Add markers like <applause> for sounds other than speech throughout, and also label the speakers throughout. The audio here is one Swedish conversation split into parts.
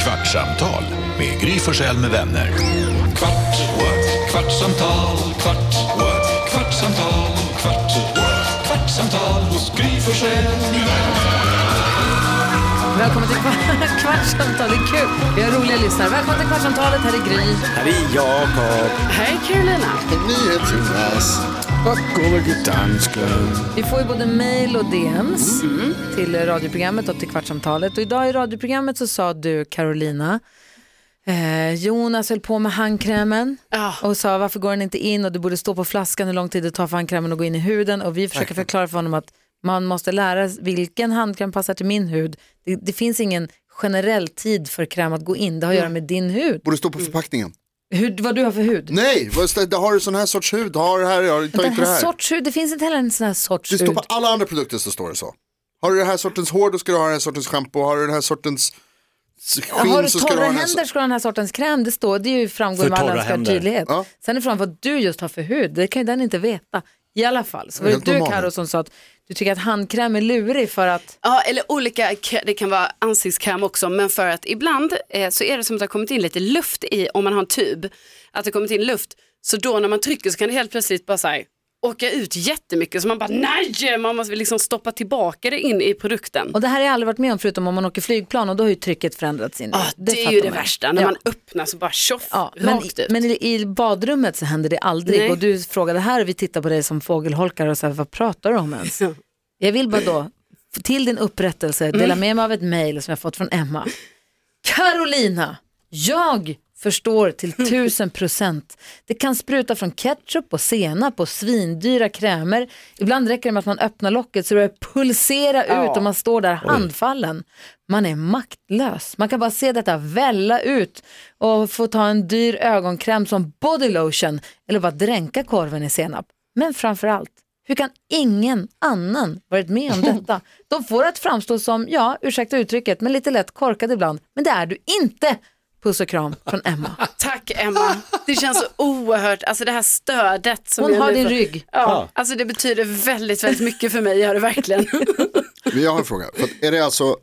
Speaker 1: Kvartsamtal med Gry Forssell med vänner. Kvart, what? kvartsamtal, kvart, what? kvartsamtal, kvart, what? kvartsamtal hos Gry Forssell med vänner.
Speaker 2: Välkommen till kvar- <laughs> Kvartsamtal, det är kul. Vi har roliga lyssnare. Välkommen till Kvartsamtalet, här är Gry.
Speaker 3: Här är Jakob.
Speaker 2: Hej Carolina.
Speaker 3: Nyhets-Jonas. Och Gullige Dansken.
Speaker 2: Vi får ju både mail och DMs till radioprogrammet och till Kvartsamtalet. Och idag i radioprogrammet så sa du Carolina, eh, Jonas höll på med handkrämen och sa varför går den inte in och det borde stå på flaskan hur lång tid det tar för handkrämen att gå in i huden. Och vi försöker förklara för honom att man måste lära sig vilken handkräm passar till min hud. Det, det finns ingen generell tid för kräm att gå in, det har att göra med din hud.
Speaker 4: Borde stå på förpackningen.
Speaker 2: Hur, vad du har för hud?
Speaker 4: Nej, vad stä- har du sån här sorts hud? Har det här, jag tar
Speaker 2: Den
Speaker 4: inte det
Speaker 2: här
Speaker 4: här.
Speaker 2: sorts hud, det finns inte heller en sån här sorts
Speaker 4: Det står
Speaker 2: hud.
Speaker 4: på alla andra produkter så står det så. Har du den här sortens hår då ska du ha den här sortens schampo. Har du den här sortens s-
Speaker 2: Ja,
Speaker 4: skinn
Speaker 2: Har du
Speaker 4: så ska du
Speaker 2: torra
Speaker 4: ha den här
Speaker 2: händer
Speaker 4: sortens.
Speaker 2: ska du ha den här sortens kräm. Det står, det är ju framgår
Speaker 3: För
Speaker 2: med all
Speaker 3: torra
Speaker 2: önskvärd
Speaker 3: händer.
Speaker 2: tydlighet.
Speaker 4: Ja.
Speaker 2: Sen är frågan vad du just har för hud, det kan ju den inte veta. I alla fall, så var det
Speaker 4: Helt
Speaker 2: du
Speaker 4: normal.
Speaker 2: Karo som sa att du tycker att handkräm är lurig för att,
Speaker 5: Ja, eller olika, k- det kan vara ansiktskräm också, men för att ibland eh, så är det som att det har kommit in lite luft i, om man har en tub, att det har kommit in luft, så då när man trycker så kan det helt plötsligt bara så här, åka ut jättemycket, så man bara nej, man måste liksom stoppa tillbaka det in i produkten.
Speaker 2: och det här har jag aldrig varit med om förutom om man åker flygplan och då har ju trycket förändrats in.
Speaker 5: Ja, Ah, det, är ju det värsta, när
Speaker 2: Ja.
Speaker 5: man öppnar så bara tjoff,
Speaker 2: Ja, men,
Speaker 5: rakt ut.
Speaker 2: men i i badrummet så händer det aldrig
Speaker 5: Nej.
Speaker 2: och du frågade här och vi tittar på dig som fågelholkar och så här, vad pratar du om ens? Jag vill bara då, f- till din upprättelse, dela
Speaker 5: Mm.
Speaker 2: med mig av ett mejl som jag fått från Emma. Carolina, jag förstår till tusen procent. Det kan spruta från ketchup och senap och svindyra krämer. Ibland räcker det med att man öppnar locket så det börjar pulsera ut och man står där handfallen. Man är maktlös. Man kan bara se detta välla ut och få ta en dyr ögonkräm som body lotion eller bara dränka korven i senap. Men framför allt, hur kan ingen annan varit med <laughs> om detta? De får att framstå som, ja, ursäkta uttrycket, men lite lätt korkad ibland. Men det är du inte! Puss och kram från <laughs> Emma.
Speaker 5: Tack Emma, det känns så oerhört, alltså det här stödet. Som
Speaker 2: Ah. Hon
Speaker 5: jag
Speaker 2: har
Speaker 5: nu
Speaker 2: din
Speaker 5: får-
Speaker 2: rygg.
Speaker 5: Ja, alltså det betyder väldigt, väldigt mycket för mig, gör det verkligen.
Speaker 4: Men jag har en fråga. För att är det alltså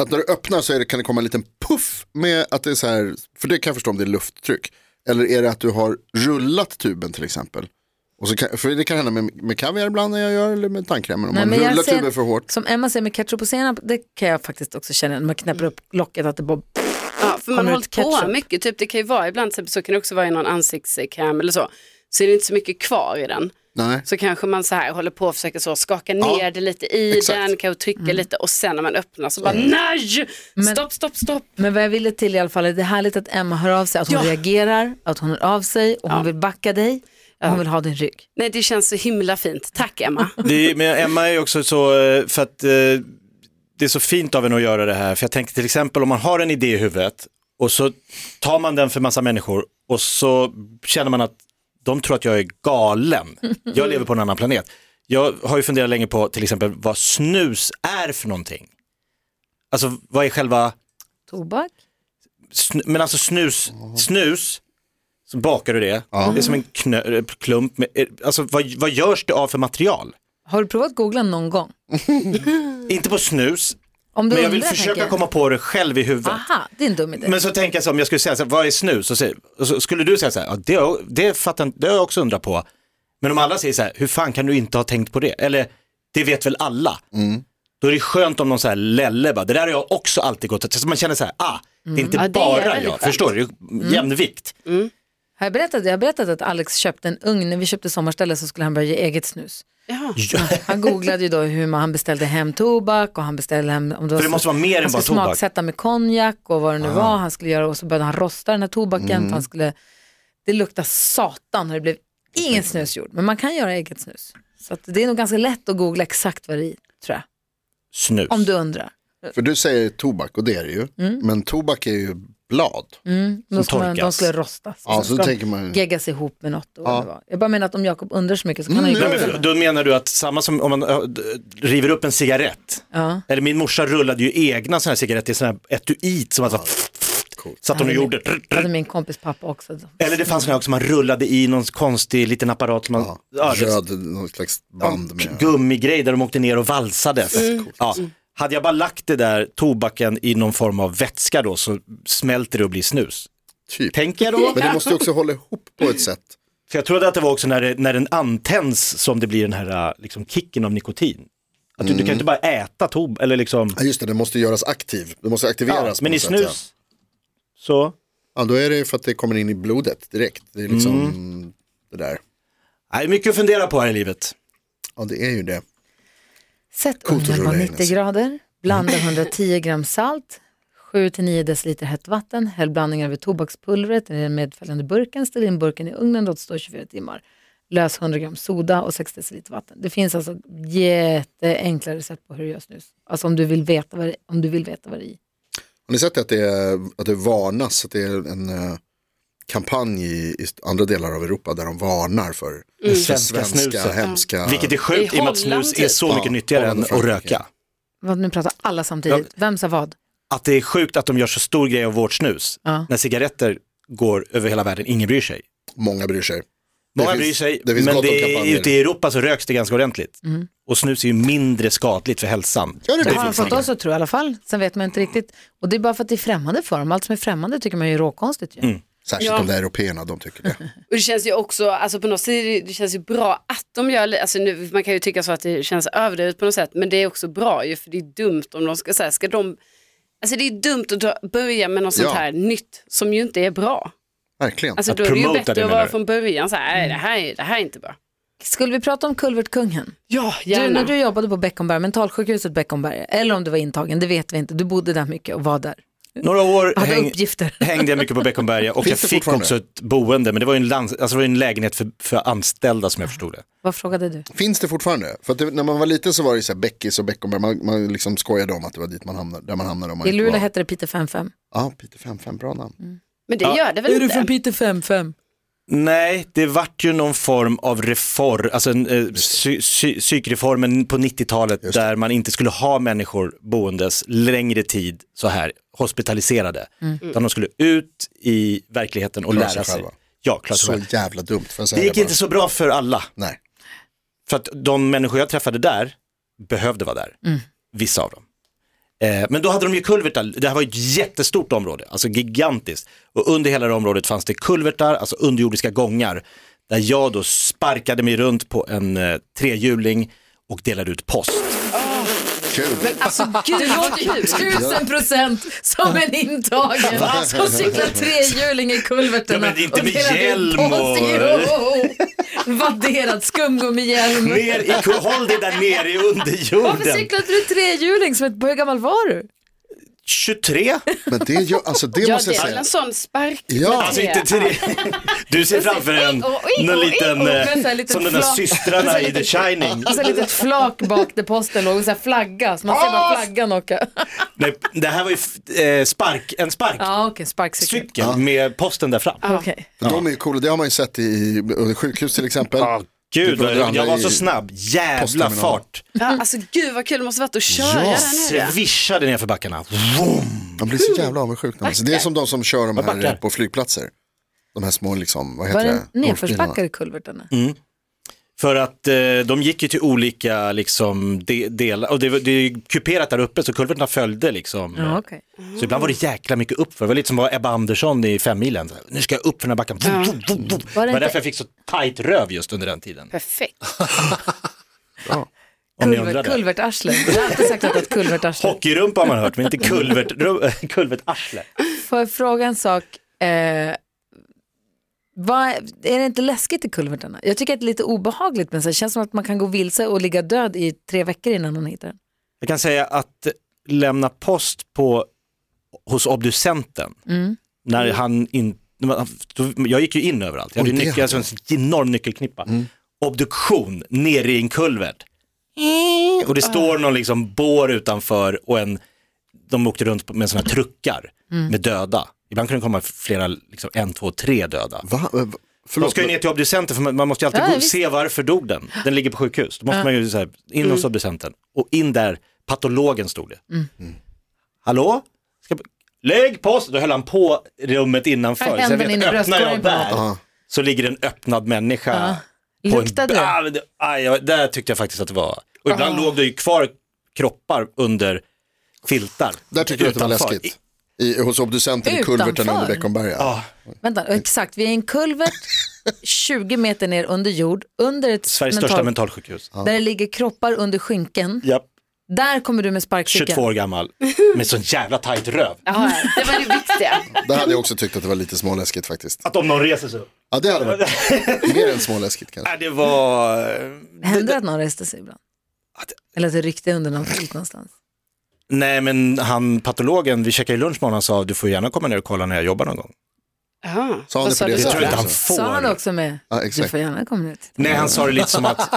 Speaker 4: att när du öppnar så är det, kan det komma en liten puff med att det är så här. För det kan jag förstå om det är lufttryck. Eller är det att du har rullat tuben till exempel. Och så kan, för det kan hända med, med kaviar ibland när jag gör eller med tandkrämen. Om man
Speaker 2: men jag
Speaker 4: rullar
Speaker 2: ser-
Speaker 4: tuben för hårt.
Speaker 2: Som Emma säger med ketchup och senap, det kan jag faktiskt också känna när man knäpper upp locket att det bara...
Speaker 5: Ja, för
Speaker 2: Mm, Kommer
Speaker 5: man har
Speaker 2: ut
Speaker 5: hållit på
Speaker 2: ketchup.
Speaker 5: mycket. Typ, det kan ju vara ibland, typ, så kan det också vara i någon ansiktskräm eller så. Så är det inte så mycket kvar i den.
Speaker 4: Nej.
Speaker 5: Så kanske man så här håller på och försöker så skaka ner det lite i
Speaker 4: exakt.
Speaker 5: den, kanske trycka
Speaker 2: Mm.
Speaker 5: lite och sen när man öppnar så bara nej, stopp, stopp, stopp.
Speaker 2: Men vad jag ville till i alla fall, är det är härligt att Emma hör av sig, att hon
Speaker 5: Ja.
Speaker 2: reagerar, att hon hör av sig och hon vill backa dig och hon vill ha din rygg.
Speaker 5: Nej, det känns så himla fint.
Speaker 2: <laughs>
Speaker 5: Tack Emma.
Speaker 3: Det är, men Emma är ju också så, eh, för att eh, det är så fint av henne att göra det här. För jag tänker till exempel om man har en idé i huvudet och så tar man den för massa människor och så känner man att de tror att jag är galen. Jag lever på en annan planet. Jag har ju funderat länge på till exempel vad snus är för någonting. Alltså vad är själva
Speaker 2: Tobak?
Speaker 3: sn- men alltså snus, snus, så bakar du det, det är som en knö, klump, med, eh, alltså vad, vad görs det av för material?
Speaker 2: Har du provat googla någon gång?
Speaker 3: Inte på snus,
Speaker 2: Om du
Speaker 3: men jag vill
Speaker 2: undrar, tänker
Speaker 3: försöka komma på det själv i huvudet.
Speaker 2: Aha, det är en dum idé.
Speaker 3: Men så tänker jag så om jag skulle säga så här, vad är snus? Och så, och så skulle du säga så här, ja, det, har- det, fattar, inte- det har jag också undrat på. Men om alla säger så här, hur fan kan du inte ha tänkt på det? Eller, det vet väl alla? Då är det skönt om någon så här lelle bara, det där har jag också alltid gått, så man känner så här, ah, det är inte
Speaker 5: Ja, det är
Speaker 3: bara
Speaker 5: väldigt
Speaker 3: jag,
Speaker 5: skönt.
Speaker 3: förstår du? Det är Jämvikt.
Speaker 2: Har jag, berättat, jag har berättat att Alex köpte en ugn, när vi köpte sommarställe så skulle han börja ge eget snus.
Speaker 5: Ja.
Speaker 2: Han googlade ju då hur man, han beställde hem tobak och han beställde hem, om det, var
Speaker 3: det måste vara mer än
Speaker 2: han
Speaker 3: bara
Speaker 2: skulle
Speaker 3: tobak. Ah.
Speaker 2: smaksätta med konjak och vad det nu var han skulle göra och så började han rosta den här tobaken
Speaker 3: Mm.
Speaker 2: för han skulle, det luktar satan och det blev ingen snus gjord, men man kan göra eget snus. Så att det är nog ganska lätt att googla exakt vad det är i, tror jag,
Speaker 3: Snus.
Speaker 2: om du undrar.
Speaker 4: För du säger tobak och det är det ju. Men tobak är ju blad.
Speaker 2: Då ska man, de
Speaker 3: torkas.
Speaker 2: skulle rostas.
Speaker 4: Ja,
Speaker 2: Sen
Speaker 4: så
Speaker 2: ska de
Speaker 4: tänker man ju.
Speaker 2: geggas ihop med något. Och vad det var. Jag bara menar att om Jakob undrar så mycket så kan
Speaker 4: Mm.
Speaker 2: han ju
Speaker 3: Nej,
Speaker 2: googla.
Speaker 3: men då menar du att samma som om man äh, d- river upp en cigarett,
Speaker 2: Ja.
Speaker 3: eller min morsa rullade ju egna sådana här cigaretter i sån här etuit som alltså, satt hon och gjorde.
Speaker 2: Det hade min kompis pappa också.
Speaker 3: Eller det fanns sådana här också man rullade i någon konstig liten apparat som man, ja, liksom det-
Speaker 4: Röd, någon slags band med.
Speaker 5: Mm.
Speaker 3: gummigrej där de åkte ner och valsade. Ja. Hade jag bara lagt det där tobaken i någon form av vätska då så smälter det och blir snus.
Speaker 4: Typ.
Speaker 3: Tänker jag då?
Speaker 4: Men det måste ju också hålla ihop på ett sätt.
Speaker 3: För jag trodde att det var också när, det, när den antänds som det blir den här äh, liksom, kicken av nikotin. Att du, du kan inte bara äta tobak eller liksom,
Speaker 4: Mm. Ja, just det, den måste göras aktiv. Den måste aktiveras. på
Speaker 3: men i
Speaker 4: något sätt, ja.
Speaker 3: snus så,
Speaker 4: Ja, då är det ju för att det kommer in i blodet direkt. Det är liksom
Speaker 3: Mm.
Speaker 4: det där.
Speaker 3: nej mycket att fundera på här i livet.
Speaker 4: Ja, det är ju det.
Speaker 2: Sätt
Speaker 4: Coolt att
Speaker 2: ugnen på
Speaker 4: rulla in,
Speaker 2: 90
Speaker 4: alltså.
Speaker 2: grader, blanda 110 gram salt, 7-9 deciliter hett vatten, häll blandningen över tobakspulvret i den medföljande burken, ställ in burken i ugnen, låt stå i 24 timmar. Lös 100 gram soda och 6 deciliter vatten. Det finns alltså jätteenkla recept på hur du gör snus. Alltså om du vill veta vad det, om du vill veta vad det är i.
Speaker 4: Har ni sett att det, är, att det varnas, att det är en eh, kampanj i, i andra delar av Europa där de varnar för det
Speaker 3: Svenska
Speaker 4: svenska
Speaker 3: snuset.
Speaker 4: hemska.
Speaker 3: Vilket är
Speaker 5: I
Speaker 3: sjukt i och med
Speaker 5: Holland
Speaker 3: att snus är
Speaker 5: typ.
Speaker 3: så
Speaker 4: Ja,
Speaker 3: mycket nyttigare
Speaker 4: Holland
Speaker 3: än
Speaker 4: och
Speaker 3: att
Speaker 4: Frankrike.
Speaker 3: röka.
Speaker 2: Vad, nu pratar alla samtidigt. Vem sa vad?
Speaker 3: Att det är sjukt att de gör så stor grej av vårt snus
Speaker 2: Ja.
Speaker 3: när cigaretter går över hela världen, ingen bryr sig.
Speaker 4: Många bryr sig.
Speaker 3: Många
Speaker 4: finns-
Speaker 3: bryr sig,
Speaker 4: det finns
Speaker 3: men
Speaker 4: gott om
Speaker 3: det är,
Speaker 4: kampanjer.
Speaker 3: ute i Europa så röks det ganska ordentligt.
Speaker 2: Mm.
Speaker 3: Och snus är ju mindre skadligt för hälsan.
Speaker 4: Ja, det är
Speaker 2: Det
Speaker 4: det.
Speaker 2: har de fått oss att tro i alla fall. Sen vet man inte riktigt. Och det är bara för att det är främmande för dem. Allt som är främmande tycker man ju är råkonstigt. Ju.
Speaker 4: Mm. Särskilt
Speaker 5: Ja.
Speaker 4: de där européerna, de tycker det.
Speaker 5: Och det känns ju också, alltså på något sätt, är det- det känns ju bra att de gör, li- alltså nu, man kan ju tycka så att det känns överdrivet på något sätt, men det är också bra ju för det är dumt om de ska, så här, ska de, alltså det är dumt att dra, börja med något sånt
Speaker 4: Ja.
Speaker 5: här nytt som ju inte är bra.
Speaker 4: Verkligen.
Speaker 5: Alltså
Speaker 3: Att
Speaker 5: då är det ju
Speaker 3: promota
Speaker 5: bättre
Speaker 3: det,
Speaker 5: att
Speaker 3: menar
Speaker 5: vara
Speaker 3: du?
Speaker 5: från början så här, nej
Speaker 4: Mm.
Speaker 5: det här, är- det här är inte bra.
Speaker 2: Skulle vi prata om kulvertkungen?
Speaker 5: Ja,
Speaker 2: Du,
Speaker 5: gärna.
Speaker 2: när du jobbade på Beckomberga, mentalsjukhuset Beckomberga, eller om du var intagen, det vet vi inte. Du bodde där mycket och var där.
Speaker 3: Några år
Speaker 2: Hade
Speaker 3: häng,
Speaker 2: uppgifter.
Speaker 3: <laughs> hängde jag mycket på Beckomberga och
Speaker 4: Finns det
Speaker 3: jag fick
Speaker 4: fortfarande?
Speaker 3: också ett boende, men det var ju en, lands, alltså det var ju en lägenhet för, för anställda som jag förstod det.
Speaker 2: Vad frågade du?
Speaker 4: Finns det fortfarande? För att det, när man var liten så var det så här Beckis och Beckomberg, man, man liksom skojade om att det var dit man hamnade, där man hamnade om man
Speaker 2: I
Speaker 4: inte
Speaker 2: Luleå
Speaker 4: var-
Speaker 2: hette det Peter 55.
Speaker 4: Ja, Peter 55, bra namn.
Speaker 5: men det gör det väl inte?
Speaker 2: Peter <laughs> 55?
Speaker 3: Nej, det vart ju någon form av reform, alltså en, eh, psy, psy, psykreformen på 90-talet där man inte skulle ha människor boendes längre tid så här hospitaliserade. Utan de skulle ut i verkligheten och
Speaker 4: Mm. Klara sig
Speaker 3: lära sig.
Speaker 4: själva.
Speaker 3: Ja, klart
Speaker 4: Så jävla dumt, för att säga
Speaker 3: Det gick
Speaker 4: bara.
Speaker 3: inte så bra för alla.
Speaker 4: Nej.
Speaker 3: För att de människor jag träffade där behövde vara där, vissa av dem. Eh, men då hade de ju kulvertar, det här var ju ett jättestort område, alltså gigantiskt. Och under hela det här området fanns det kulvertar, alltså underjordiska gångar, där jag då sparkade mig runt på en eh, trehjuling och delade ut post.
Speaker 4: Kul.
Speaker 2: Du låter ju
Speaker 3: <laughs>
Speaker 2: tusen procent som en intagen Alltså, som cyklar trehjuling i
Speaker 3: Ja,
Speaker 2: kulverterna.
Speaker 3: men inte
Speaker 2: och
Speaker 3: med
Speaker 2: delar ut
Speaker 3: hjälm
Speaker 2: post.
Speaker 3: och-
Speaker 2: Jo! Vadderat skumgummi hjälm.
Speaker 3: Ner i, ku- håll dig där nere i
Speaker 2: Varför
Speaker 3: underjorden.
Speaker 2: cyklade du trehjuling som ett, hur gammal var du?
Speaker 3: 23?
Speaker 4: Men det, gör, alltså, det
Speaker 5: Ja,
Speaker 4: måste
Speaker 5: det
Speaker 4: jag
Speaker 5: är väl
Speaker 4: säga.
Speaker 5: en sån spark.
Speaker 4: Ja,
Speaker 3: Alltså inte tre. Du ser framför en, någon liten, eh,
Speaker 2: Men så här lite
Speaker 3: som de där
Speaker 2: flak-
Speaker 3: systrarna i The Shining.
Speaker 2: Och så Alltså, ett litet flak bak där posten låg, och så här flagga, så man ser bara flaggan åka.
Speaker 3: Nej, det här var ju f- eh, spark, en sparkcykel
Speaker 2: Ja, okej, sparkcykel.
Speaker 3: med posten där fram.
Speaker 2: Okej.
Speaker 4: för de är ju coola, det har man ju sett i under sjukhus till exempel.
Speaker 3: Gud,
Speaker 4: Du
Speaker 3: jag, jag var
Speaker 4: i-
Speaker 3: så snabb. Jävla
Speaker 4: postterminalen.
Speaker 3: fart.
Speaker 5: Ja, alltså gud vad kul det måste varit att köra
Speaker 4: Ja,
Speaker 5: den här.
Speaker 3: Svischade nerför backarna. Vroom.
Speaker 4: Man blir så jävla avundsjuk. när man ser- Det är som de som kör de
Speaker 3: Vad
Speaker 4: här
Speaker 3: backar?
Speaker 4: eh, på flygplatser. De här små liksom, vad
Speaker 2: Var
Speaker 4: heter
Speaker 2: det
Speaker 4: det?
Speaker 2: nedförsbackar i kulvertarna?
Speaker 3: Mm. För att eh, de gick ju till olika liksom, de, delar, och det, var- det är ju kuperat där uppe så kulverterna följde liksom.
Speaker 2: Ja, okej.
Speaker 3: Så ibland var det jäkla mycket uppför, det var lite som att vara Ebba Andersson i femmilen. Så här, Nu ska jag upp för den här backen. Vroom, vroom, vroom, vroom.
Speaker 2: Var
Speaker 3: Var
Speaker 2: det
Speaker 3: det
Speaker 2: inte-
Speaker 3: var därför jag fick så tajt röv just under den tiden.
Speaker 5: Perfekt.
Speaker 3: Om ni
Speaker 2: Kulvert,
Speaker 3: undrade.
Speaker 2: kulvertarsle. Jag har alltid sagt att det är ett kulvertarsle.
Speaker 3: Hockeyrumpa har man hört, men inte kulvert, <laughs> kulvertarsle.
Speaker 2: Får jag fråga en sak? Eh, vad, är det inte läskigt i kulvertarna? Jag tycker att det är lite obehagligt, men så här, känns som att man kan gå vilse och ligga död i tre veckor innan man hittar den.
Speaker 3: Jag kan säga att lämna post på, hos obducenten, när han in, när man- jag gick ju in överallt, jag hade
Speaker 4: Oj, det Mm.
Speaker 3: nyckel, alltså en enorm nyckelknippa. Obduktion, nere i en kulvert. Och det står någon liksom bår utanför och en, de åkte runt med sådana truckar med döda. Ibland kunde det komma flera, liksom, en, två, tre döda.
Speaker 4: Va? Eh, va-
Speaker 3: De
Speaker 4: Förlåt,
Speaker 3: ska ju ner till obducenten för man man måste ju alltid
Speaker 2: Ja,
Speaker 3: gå
Speaker 2: visst.
Speaker 3: se varför dog den. Den ligger på sjukhus. Då måste man ju så här, in
Speaker 2: Mm.
Speaker 3: hos obducenten och in där patologen stod det. Hallå? Ska... Lägg post! Då höll han på rummet innanför.
Speaker 2: Här
Speaker 3: Så jag
Speaker 2: händer den
Speaker 3: vet,
Speaker 2: in i
Speaker 3: öppnar jag
Speaker 2: bröstkorgen på
Speaker 3: där
Speaker 4: Ja.
Speaker 3: så ligger en öppnad människa.
Speaker 2: Luktade
Speaker 3: en...
Speaker 2: det?
Speaker 3: Ah, men det? Aj, jag, där tyckte jag faktiskt att det var. Och ibland låg det ju kvar kroppar under filtar.
Speaker 4: Där tycker du att det var
Speaker 3: Utanför.
Speaker 4: läskigt? I, hos obducenten i kulverten
Speaker 2: Utanför?
Speaker 4: under Beckomberga?
Speaker 3: Ja,
Speaker 2: Vänta, exakt. Vi är i en
Speaker 3: <laughs>
Speaker 2: kulvert 20 meter ner under jord, under ett
Speaker 3: Sveriges
Speaker 2: mental-
Speaker 3: största mentalsjukhus.
Speaker 2: där det ligger kroppar under skynken.
Speaker 3: Japp.
Speaker 2: Där kommer du med sparkcykeln.
Speaker 3: 22 år gammal, med sån jävla tajt röv.
Speaker 5: Ja, det var det viktiga.
Speaker 4: Där hade jag också tyckt att det var lite småläskigt faktiskt.
Speaker 3: Att om någon reser sig upp.
Speaker 4: Ja, det hade varit
Speaker 3: <laughs>
Speaker 4: mer än småläskigt kanske.
Speaker 3: Nej, Äh, det var...
Speaker 2: Händer det att någon reste sig ibland? Eller att det ryckte under någon filt någonstans?
Speaker 3: Nej, men han patologen, vi käkade ju lunch med honom, han sa du får gärna komma ner och kolla när jag jobbar någon gång.
Speaker 5: Jaha.
Speaker 4: Sa han det på det
Speaker 5: Vad du
Speaker 3: Jag
Speaker 5: då?
Speaker 4: sättet?
Speaker 3: tror inte han
Speaker 4: också.
Speaker 3: får.
Speaker 2: Sa han också med,
Speaker 4: Ja,
Speaker 2: du
Speaker 4: exakt.
Speaker 2: får gärna komma ut.
Speaker 3: Nej, han sa det lite som att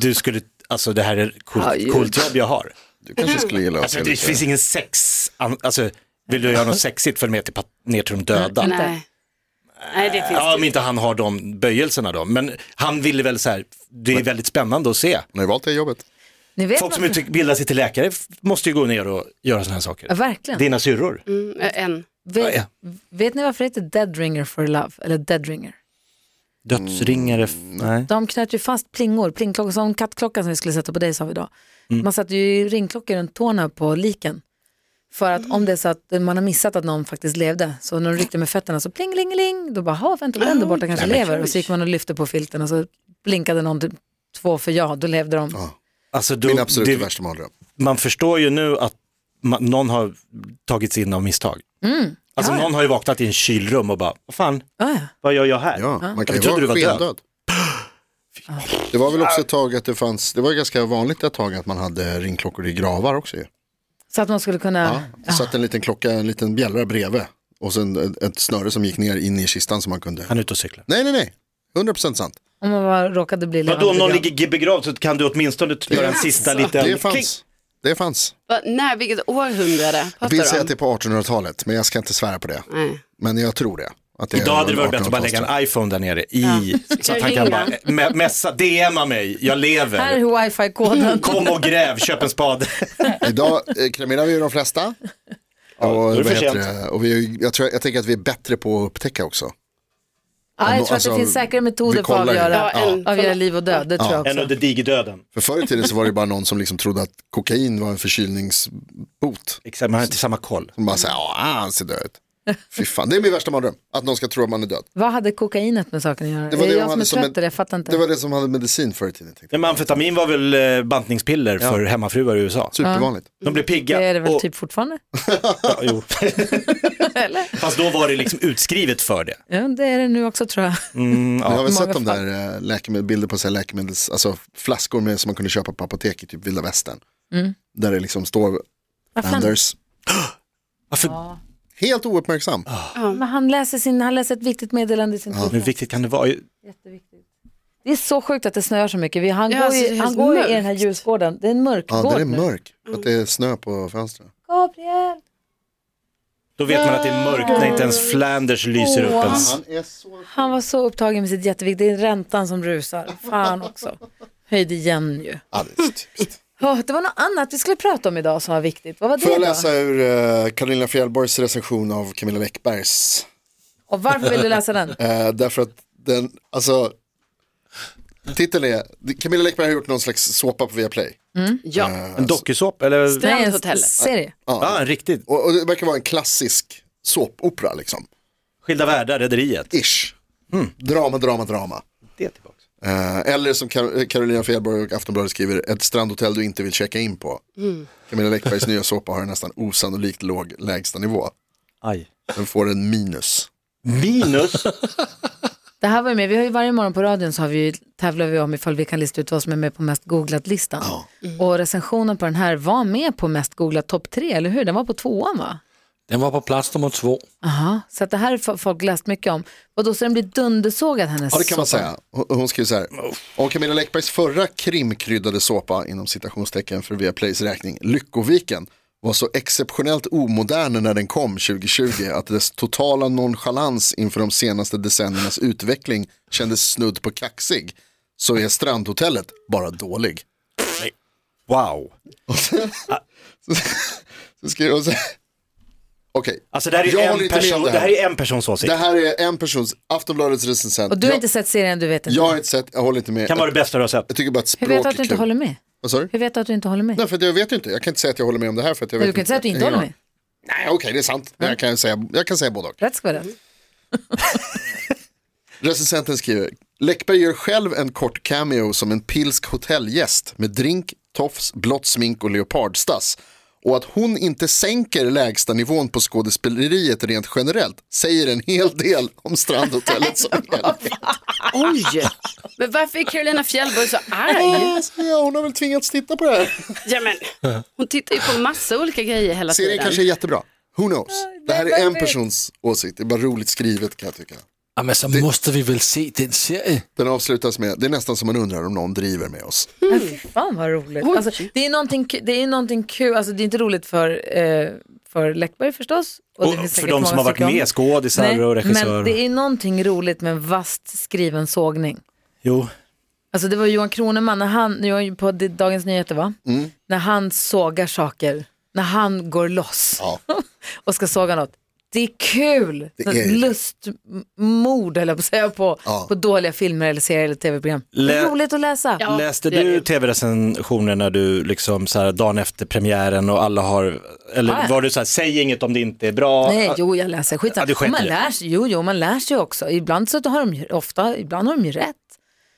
Speaker 3: du skulle, alltså det här är ett
Speaker 2: Ja,
Speaker 3: coolt,
Speaker 2: ju.
Speaker 3: coolt jobb jag har.
Speaker 4: Du kanske skulle gilla att
Speaker 3: Alltså
Speaker 4: se
Speaker 3: det finns
Speaker 4: lite.
Speaker 3: ingen sex, an- alltså vill du göra något sexigt följ med till, pat- ner till de döda.
Speaker 5: Nej. Nej, det finns
Speaker 3: Ja,
Speaker 5: det
Speaker 3: om inte han har de böjelserna då. Men han ville väl så här, det är väldigt spännande att se.
Speaker 4: Har ni valt det jobbet?
Speaker 2: Ni vet
Speaker 3: Folk som
Speaker 2: vad-
Speaker 3: utbildar sig till läkare f- måste ju gå ner och göra sådana här
Speaker 2: ja,
Speaker 3: saker.
Speaker 2: verkligen.
Speaker 3: Dina syrror.
Speaker 5: Mm, en.
Speaker 2: Vet,
Speaker 3: Ja,
Speaker 2: vet ni varför det heter Dead Ringer for Love? Eller Dead Ringer?
Speaker 3: Dödsringare, f- nej.
Speaker 2: De knöt ju fast plingor, plingklockor, som kattklockan som vi skulle sätta på dig sa vi idag. Man satte ju ringklockor runt tårna på liken. För att om det är så att man har missat att någon faktiskt levde, så när de ryckte med fötterna så plingelingeling, då bara, ha vänta, den där borta kanske lever. Och så gick man och lyfte på filten och så blinkade någon typ två för ja, då levde de.
Speaker 3: Alltså, då,
Speaker 4: Min absolut
Speaker 3: det,
Speaker 4: värsta mardröm.
Speaker 3: man förstår ju nu att man, någon har tagits in av misstag. Alltså
Speaker 2: Mm. Ja, ja.
Speaker 3: någon har ju vaknat i en kylrum och bara, vad fan,
Speaker 2: Ah, ja.
Speaker 3: vad gör jag här?
Speaker 4: Ja, man kan
Speaker 3: Jag
Speaker 4: ju
Speaker 3: trodde
Speaker 4: vara
Speaker 3: du var död.
Speaker 4: skendöd. Det var väl också ett tag att det fanns, det var ganska vanligt ett tag att man hade ringklockor i gravar också ju.
Speaker 2: Så att man skulle
Speaker 4: Ja,
Speaker 2: kunna,
Speaker 4: det satt en liten klocka, en liten bjällra bredvid och sen ett- ett snöre som gick ner in i kistan som man kunde.
Speaker 3: Han är ute och cyklar.
Speaker 4: Nej, nej, nej, 100% sant.
Speaker 2: om man var, råkade bli levande.
Speaker 3: Vadå, om någon
Speaker 2: begravd.
Speaker 3: ligger begravd så kan du åtminstone göra en sista liten
Speaker 4: Det
Speaker 3: klick.
Speaker 4: fanns. Det fanns.
Speaker 5: Va, när, vilket århundrade
Speaker 4: Jag vill säga
Speaker 5: pratar du
Speaker 4: att
Speaker 5: om?
Speaker 4: det är på 1800-talet, men jag ska inte svära på det.
Speaker 5: Nej.
Speaker 4: Men jag tror det. Att det är
Speaker 3: Idag hade det varit
Speaker 4: 1800-talsgrej.
Speaker 3: bättre att bara lägga en iPhone där nere i, så att han
Speaker 5: Ringa.
Speaker 3: kan bara me- messa, DMa mig, jag
Speaker 2: Här
Speaker 3: lever.
Speaker 2: är wifi-koden.
Speaker 3: Kom och gräv, köp
Speaker 2: <laughs>
Speaker 3: en spade.
Speaker 4: Idag eh, kremerar vi ju de flesta. Och,
Speaker 3: är det
Speaker 4: vad
Speaker 3: för
Speaker 4: heter det? och vi, jag, tror, jag tänker att vi är bättre på att upptäcka också.
Speaker 2: Ja, jag tror att
Speaker 4: Alltså,
Speaker 2: det finns säkra
Speaker 4: vi
Speaker 2: metoder för att
Speaker 4: kollar ju.
Speaker 2: avgöra,
Speaker 5: Ja, en-
Speaker 2: avgöra liv och död, det tror jag
Speaker 3: En
Speaker 2: också.
Speaker 3: under digerdöden.
Speaker 4: För förr i tiden så var det bara någon som liksom trodde att kokain var en förkylningsbot.
Speaker 3: Exakt, man har inte samma koll.
Speaker 4: Som bara säger, ja han ser död ut. Fy fan, det är min värsta mardröm. Att någon ska tro att man är död.
Speaker 2: Vad hade kokainet med saken att göra?
Speaker 4: Det var
Speaker 2: är
Speaker 4: det
Speaker 2: jag
Speaker 4: de
Speaker 2: som är
Speaker 4: hade som
Speaker 2: trött
Speaker 4: en-
Speaker 2: eller? Jag fattar inte.
Speaker 4: Det var det som hade medicin förr i tiden. Tänkte. jag.
Speaker 3: Nej, men amfetamin var väl eh, bantningspiller för hemmafruar i USA.
Speaker 4: Supervanligt.
Speaker 3: De blev pigga.
Speaker 2: Det är det väl
Speaker 3: och-
Speaker 2: typ fortfarande? <laughs>
Speaker 3: Ja, jo. <laughs> Fast då var det liksom utskrivet för det.
Speaker 2: Ja, det är det nu också tror jag.
Speaker 3: Mm.
Speaker 4: Ja, jag har väl
Speaker 2: många
Speaker 4: sett de där eh, läkemedel, bilder på så här läkemedels, alltså flaskor med, som man kunde köpa på apotek i typ vilda västern. Där det liksom står
Speaker 2: Vad Mm. fan?
Speaker 4: Anders,
Speaker 3: Varför?
Speaker 4: helt ouppmärksam.
Speaker 2: Men han, läser sin, han läser ett viktigt meddelande i sin telefon.
Speaker 3: Hur viktigt kan det vara?
Speaker 2: Jätteviktigt. Det är så sjukt att det snöar så mycket. Vi- Han
Speaker 5: Ja,
Speaker 2: går,
Speaker 5: alltså,
Speaker 2: ju,
Speaker 5: det är
Speaker 2: han
Speaker 5: helt
Speaker 2: går ju i den här
Speaker 5: mörkt.
Speaker 2: ljusgården. Det är en mörk
Speaker 4: Ja,
Speaker 2: gård
Speaker 4: den är
Speaker 2: nu.
Speaker 4: mörk. För att det är snö på fönstren.
Speaker 2: Gabriel!
Speaker 3: Då vet man att det är mörkt när inte ens Flanders lyser upp ens.
Speaker 4: är så...
Speaker 2: Han var så upptagen med sitt jätteviktiga, det är räntan som rusar. Fan också. Höjde igen ju.
Speaker 4: Ja, det är så typiskt.
Speaker 2: Åh, det var något annat vi skulle prata om idag som var viktigt. Vad var
Speaker 4: <laughs> Får jag
Speaker 2: det då?
Speaker 4: läsa ur eh, Carolina Fjällborgs recension av Camilla Läckbergs?
Speaker 2: Och varför vill du läsa
Speaker 4: <laughs>
Speaker 2: den?
Speaker 4: Eh, därför att den, alltså, titeln är, Camilla Läckberg har gjort någon slags såpa på Viaplay.
Speaker 5: Ja,
Speaker 3: En dokusåp eller?
Speaker 2: Nej, en
Speaker 5: Strandhotellet.
Speaker 2: serie.
Speaker 3: Ja, en riktigt.
Speaker 4: Och, och det verkar vara en klassisk såpopera liksom.
Speaker 3: Skilda världar, Rederiet.
Speaker 4: Ish. Hmm, Drama, drama, drama.
Speaker 3: Det är tillbaka.
Speaker 4: Eh, eller som Kar- Carolina Fjällborg och Aftonbladet skriver, ett strandhotell du inte vill checka in på.
Speaker 3: Mm.
Speaker 4: Camilla Läckbergs <laughs> nya såpa har en nästan osannolikt låg lägstanivå.
Speaker 3: Aj.
Speaker 4: Den får en minus.
Speaker 3: Minus.
Speaker 2: Det här var ju med, vi har ju varje morgon på radion så har vi ju, tävlar vi om ifall vi kan lista ut vad som är med på mest googlat-listan. Och recensionen på den här var med på mest googlat topp tre, eller hur? Den var på tvåan va?
Speaker 6: Den var på plats nummer två.
Speaker 2: Aha. Så att det här har folk läst mycket om. Och då så den blir dundersågad hennes
Speaker 4: Ja det kan man
Speaker 2: soppa.
Speaker 4: säga. Hon- Hon skriver så här. Om Camilla Läckbergs förra krimkryddade såpa inom citationstecken för Viaplays räkning, Lyckoviken, var så exceptionellt omodern när den kom 2020 att dess totala nonchalans inför de senaste decenniernas utveckling kändes snudd på kaxig. Så är strandhotellet bara dålig. <laughs>
Speaker 3: Wow.
Speaker 4: Så skriver hon så här. Okej,
Speaker 3: Alltså det här
Speaker 4: Jag
Speaker 3: är,
Speaker 4: håller
Speaker 3: en,
Speaker 4: inte med om
Speaker 3: person,
Speaker 4: det
Speaker 3: det
Speaker 4: här.
Speaker 3: här är en persons åsikt.
Speaker 4: det här är en persons, Aftonbladets recensent.
Speaker 2: Och du har
Speaker 4: jag,
Speaker 2: inte sett serien, du vet inte.
Speaker 4: jag har inte sett, jag håller inte med.
Speaker 3: kan vara
Speaker 4: Jag,
Speaker 3: det bästa du har sett.
Speaker 4: jag tycker bara att språk
Speaker 2: Hur vet du att du
Speaker 4: är
Speaker 2: inte
Speaker 4: kul.
Speaker 2: håller med?
Speaker 4: Vad sa du?
Speaker 2: Hur vet du att du inte håller med?
Speaker 4: Nej, för att jag vet ju inte. Jag kan inte säga att jag håller med om det här. För att jag
Speaker 2: Men du
Speaker 4: vet
Speaker 2: kan inte säga att du inte håller med.
Speaker 4: Nej, okej, det är sant. Men jag kan säga, jag kan säga både och.
Speaker 2: Rätt ska vara rätt.
Speaker 4: Recensenten skriver, Läckberg gör själv en kort cameo som en pilsk hotellgäst med drink, tofs, blått smink och leopardstass. Och att hon inte sänker lägsta nivån på skådespeleriet rent generellt säger en hel del om
Speaker 2: <laughs>
Speaker 4: Strandhotellet som helhet.
Speaker 5: Oj! Men varför är Carolina Fjällborg så arg?
Speaker 4: Ja, hon har väl tvingats titta på det här.
Speaker 5: Ja, men, hon tittar ju på massa olika grejer hela
Speaker 4: Serien
Speaker 5: tiden.
Speaker 4: kanske är jättebra. Who knows? Det här är en persons åsikt. Det är bara roligt skrivet kan jag tycka.
Speaker 6: Ja, men så måste vi väl se den serien.
Speaker 4: Den avslutas med, det är nästan som man undrar om någon driver med oss.
Speaker 2: Ja, fy fan vad roligt.
Speaker 5: Oj.
Speaker 2: Alltså, det är någonting, ku- det är någonting kul, alltså, det är inte roligt för, eh, för Läckberg förstås. det
Speaker 3: Och
Speaker 2: finns
Speaker 3: för
Speaker 2: säkert
Speaker 3: de som
Speaker 2: många
Speaker 3: har varit
Speaker 2: stycken om.
Speaker 3: med, skådisar och regissörer.
Speaker 2: Men det är någonting roligt med en vast skriven sågning.
Speaker 3: Jo,
Speaker 2: Alltså det var Johan Kroneman, när han, nu var jag ju på D- Dagens Nyheter va?
Speaker 3: Mm.
Speaker 2: När han sågar saker, när han går loss
Speaker 4: Ja.
Speaker 2: <laughs> och ska såga något. Det är kul!
Speaker 4: är ju det.
Speaker 2: Lustmord höll jag på att säga på,
Speaker 4: Ja.
Speaker 2: på dåliga filmer eller serier eller tv-program. Det är
Speaker 3: Lä-
Speaker 2: roligt att läsa.
Speaker 5: Ja,
Speaker 3: Läste
Speaker 5: det är
Speaker 3: du
Speaker 5: det.
Speaker 3: tv-recensioner när du liksom så här dagen efter premiären och alla har, eller
Speaker 2: Ja, ja.
Speaker 3: var du så här, säg inget om det inte är bra?
Speaker 2: Nej, jo jag läser,
Speaker 3: Ja,
Speaker 2: skitsamma.
Speaker 3: du sket
Speaker 2: Och man
Speaker 3: i det.
Speaker 2: lär sig, jo, jo, man lär sig också. Ibland så har de ju, ofta, ibland har de ju rätt.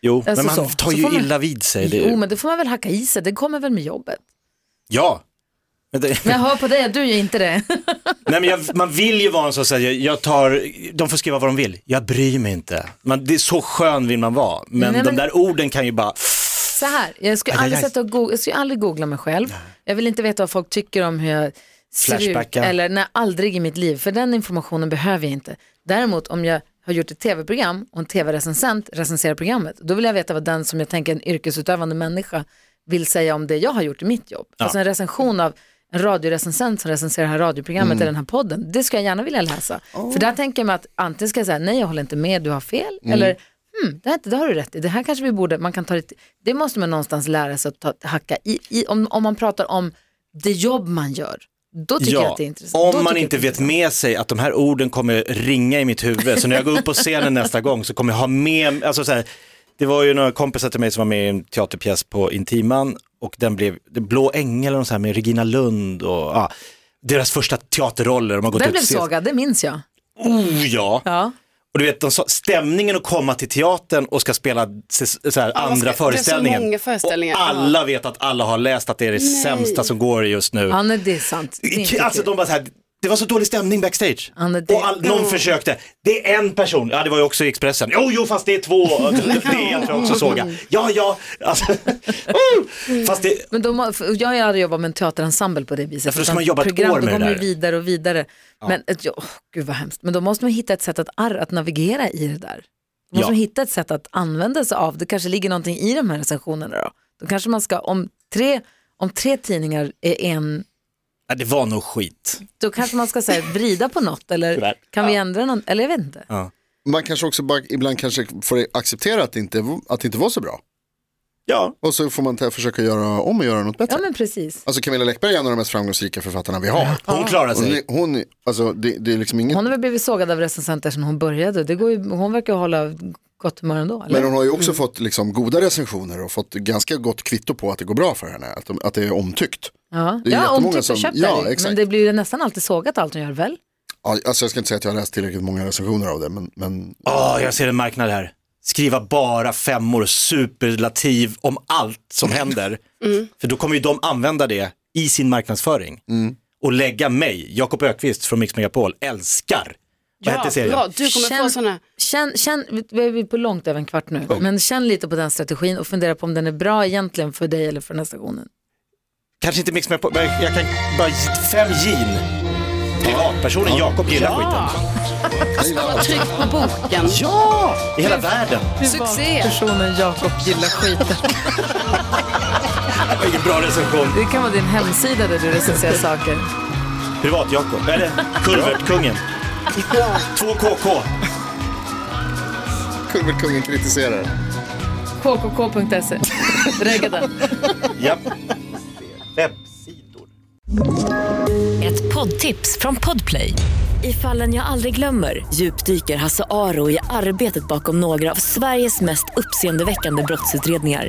Speaker 3: jo,
Speaker 2: alltså
Speaker 3: men man
Speaker 2: så.
Speaker 3: tar
Speaker 2: Så
Speaker 3: ju
Speaker 2: får man-
Speaker 3: illa vid sig. Det,
Speaker 2: Jo, men det får man väl hacka i sig, det kommer väl med jobbet.
Speaker 3: Ja. Men det,
Speaker 2: Men jag hör på dig att du gör inte det.
Speaker 3: <laughs>
Speaker 2: <laughs>
Speaker 3: nej, men jag, man vill ju vara en sån som säger, jag tar, de får skriva vad de vill, jag bryr mig inte. Man, det är så skön vill man vara, men,
Speaker 2: Nej, men-
Speaker 3: de där orden kan ju bara,
Speaker 2: Så här, jag skulle,
Speaker 3: Aj, aj,
Speaker 2: aldrig,
Speaker 3: aj.
Speaker 2: sätta och go- jag skulle aldrig googla mig själv. Jag vill inte veta vad folk tycker om hur jag ser ut.
Speaker 3: Flashbackar.
Speaker 2: Eller nej, aldrig i mitt liv. För den informationen behöver jag inte. Däremot om jag har gjort ett tv-program och en tv-recensent recenserar programmet, då vill jag veta vad den som jag tänker en yrkesutövande människa vill säga om det jag har gjort i mitt jobb. Alltså en recension av en radiorecensent som recenserar det här radioprogrammet eller den här podden, det ska jag gärna vilja läsa. För där tänker jag mig att antingen ska jag säga nej jag håller inte med, du har fel, eller Hmm, det, här, det har du rätt i. Det här kanske vi borde, man kan ta det, till- det måste man någonstans lära sig att ta, hacka i. i om, om man pratar om det jobb man gör, då tycker jag att det är intressant. Då
Speaker 3: om man
Speaker 2: tycker jag
Speaker 3: inte
Speaker 2: att det är
Speaker 3: vet med sig att de här orden kommer ringa i mitt huvud, så när jag går upp på scenen nästa gång så kommer jag ha med, alltså så här, det var ju några kompisar till mig som var med i en teaterpjäs på Intiman och den blev det Blå ängel och så här med Regina Lund och ja, deras första teaterroller. De har gått
Speaker 2: Den
Speaker 3: ut
Speaker 2: blev
Speaker 3: och ses-
Speaker 2: sågad, det minns jag.
Speaker 3: Oh ja!
Speaker 2: Ja.
Speaker 3: Och du vet, de sa, stämningen att komma till teatern och ska spela ses- så här,
Speaker 5: man ska-
Speaker 3: andra
Speaker 5: det är så
Speaker 3: föreställningen.
Speaker 5: många föreställningar,
Speaker 3: Och alla vet att alla har läst att det är det sämsta som går just nu.
Speaker 2: Ja, nej, det är sant. Det är inte
Speaker 3: <laughs>
Speaker 2: typ-
Speaker 3: Alltså
Speaker 2: kul.
Speaker 3: de bara så här, det var så dålig stämning backstage.
Speaker 2: Ja, men det-
Speaker 3: Och all, någon försökte, det är en person, ja det var ju också i Expressen, jo jo fast det är
Speaker 2: <laughs>
Speaker 3: två, det är jag tror jag också såg jag. Ja ja, alltså, <laughs> mm. fast det,
Speaker 2: Men de, har- för jag har ju aldrig jobbat med en tearensemble på det viset.
Speaker 3: Ja, för då ska
Speaker 2: Utan
Speaker 3: man jobba ett
Speaker 2: program,
Speaker 3: år med
Speaker 2: då
Speaker 3: det
Speaker 2: kommer
Speaker 3: där.
Speaker 2: ju vidare och vidare. Men, ett- ja, åh, gud vad hemskt. Men då måste man hitta ett sätt att, ar- att navigera i det där. Då måste
Speaker 3: Ja.
Speaker 2: man hitta ett sätt att använda sig av. Det kanske ligger någonting i de här recensionerna då. Då kanske man ska, om tre, om tre tidningar är en,
Speaker 3: ja, det var nog skit.
Speaker 2: då kanske man ska säga vrida på något eller
Speaker 3: Tyvärr.
Speaker 2: kan vi ändra något, eller jag vet inte.
Speaker 4: Man kanske också bara, ibland kanske får acceptera att det, inte, att det inte var så bra.
Speaker 3: Ja,
Speaker 4: Och så får man ta- försöka göra om och göra något bättre.
Speaker 2: Ja men precis.
Speaker 4: Alltså Camilla Läckberg är en av de mest framgångsrika författarna vi har.
Speaker 3: hon klarar
Speaker 4: Hon,
Speaker 3: sig.
Speaker 4: är- hon, är- alltså, det, det är liksom inget,
Speaker 2: Hon har väl blivit sågad av recensenter sedan hon började. Det går ju, hon verkar ju hålla gott humör ändå. Eller?
Speaker 4: men hon har ju också fått liksom, goda recensioner och fått ganska gott kvitto på att det går bra för henne. Att, de, att det är omtyckt.
Speaker 2: Ja, typ
Speaker 4: Det är
Speaker 2: ja
Speaker 4: jättemånga
Speaker 2: omtyckt och
Speaker 4: som-
Speaker 2: köpt
Speaker 4: ja,
Speaker 2: är det ju. Men
Speaker 4: exakt.
Speaker 2: det blir ju nästan alltid sågat allt hon gör väl?
Speaker 4: Ja, Alltså, jag ska inte säga att jag har läst tillräckligt många recensioner av det, men, men <laughs>
Speaker 3: Åh, jag ser en marknad här. Skriva bara femmor, superlativ om allt som händer. För då kommer ju de använda det i sin marknadsföring. Och lägga mig, Jakob Ökvist från Mix Megapol, älskar. Vad hette serien?
Speaker 5: bra, du kommer få
Speaker 2: Känn-
Speaker 5: sådana.
Speaker 2: Känn, känn, vi är på långt över en kvart nu, men känn lite på den strategin och fundera på om den är bra egentligen för dig eller för den här stationen.
Speaker 3: Kanske inte Mix Megapol, men jag kan bara fem gin. Privatpersonen Jakob gillar skiten.
Speaker 5: Tryck på boken.
Speaker 3: Ja, i hela världen.
Speaker 5: Succé!
Speaker 2: Personen Jakob gillar skiten.
Speaker 3: Vilken bra recension.
Speaker 2: Det kan vara din hemsida där du recenserar saker.
Speaker 3: Privat-Jakob, eller Kulvertkungen. Två kk
Speaker 4: Kulverkungen kritiserar.
Speaker 2: kkk.se. Räkna den.
Speaker 3: Japp. Webbsidor.
Speaker 7: Ett poddtips från Podplay. I fallen jag aldrig glömmer djupdyker Hasse Aro i arbetet bakom några av Sveriges mest uppseendeväckande brottsutredningar.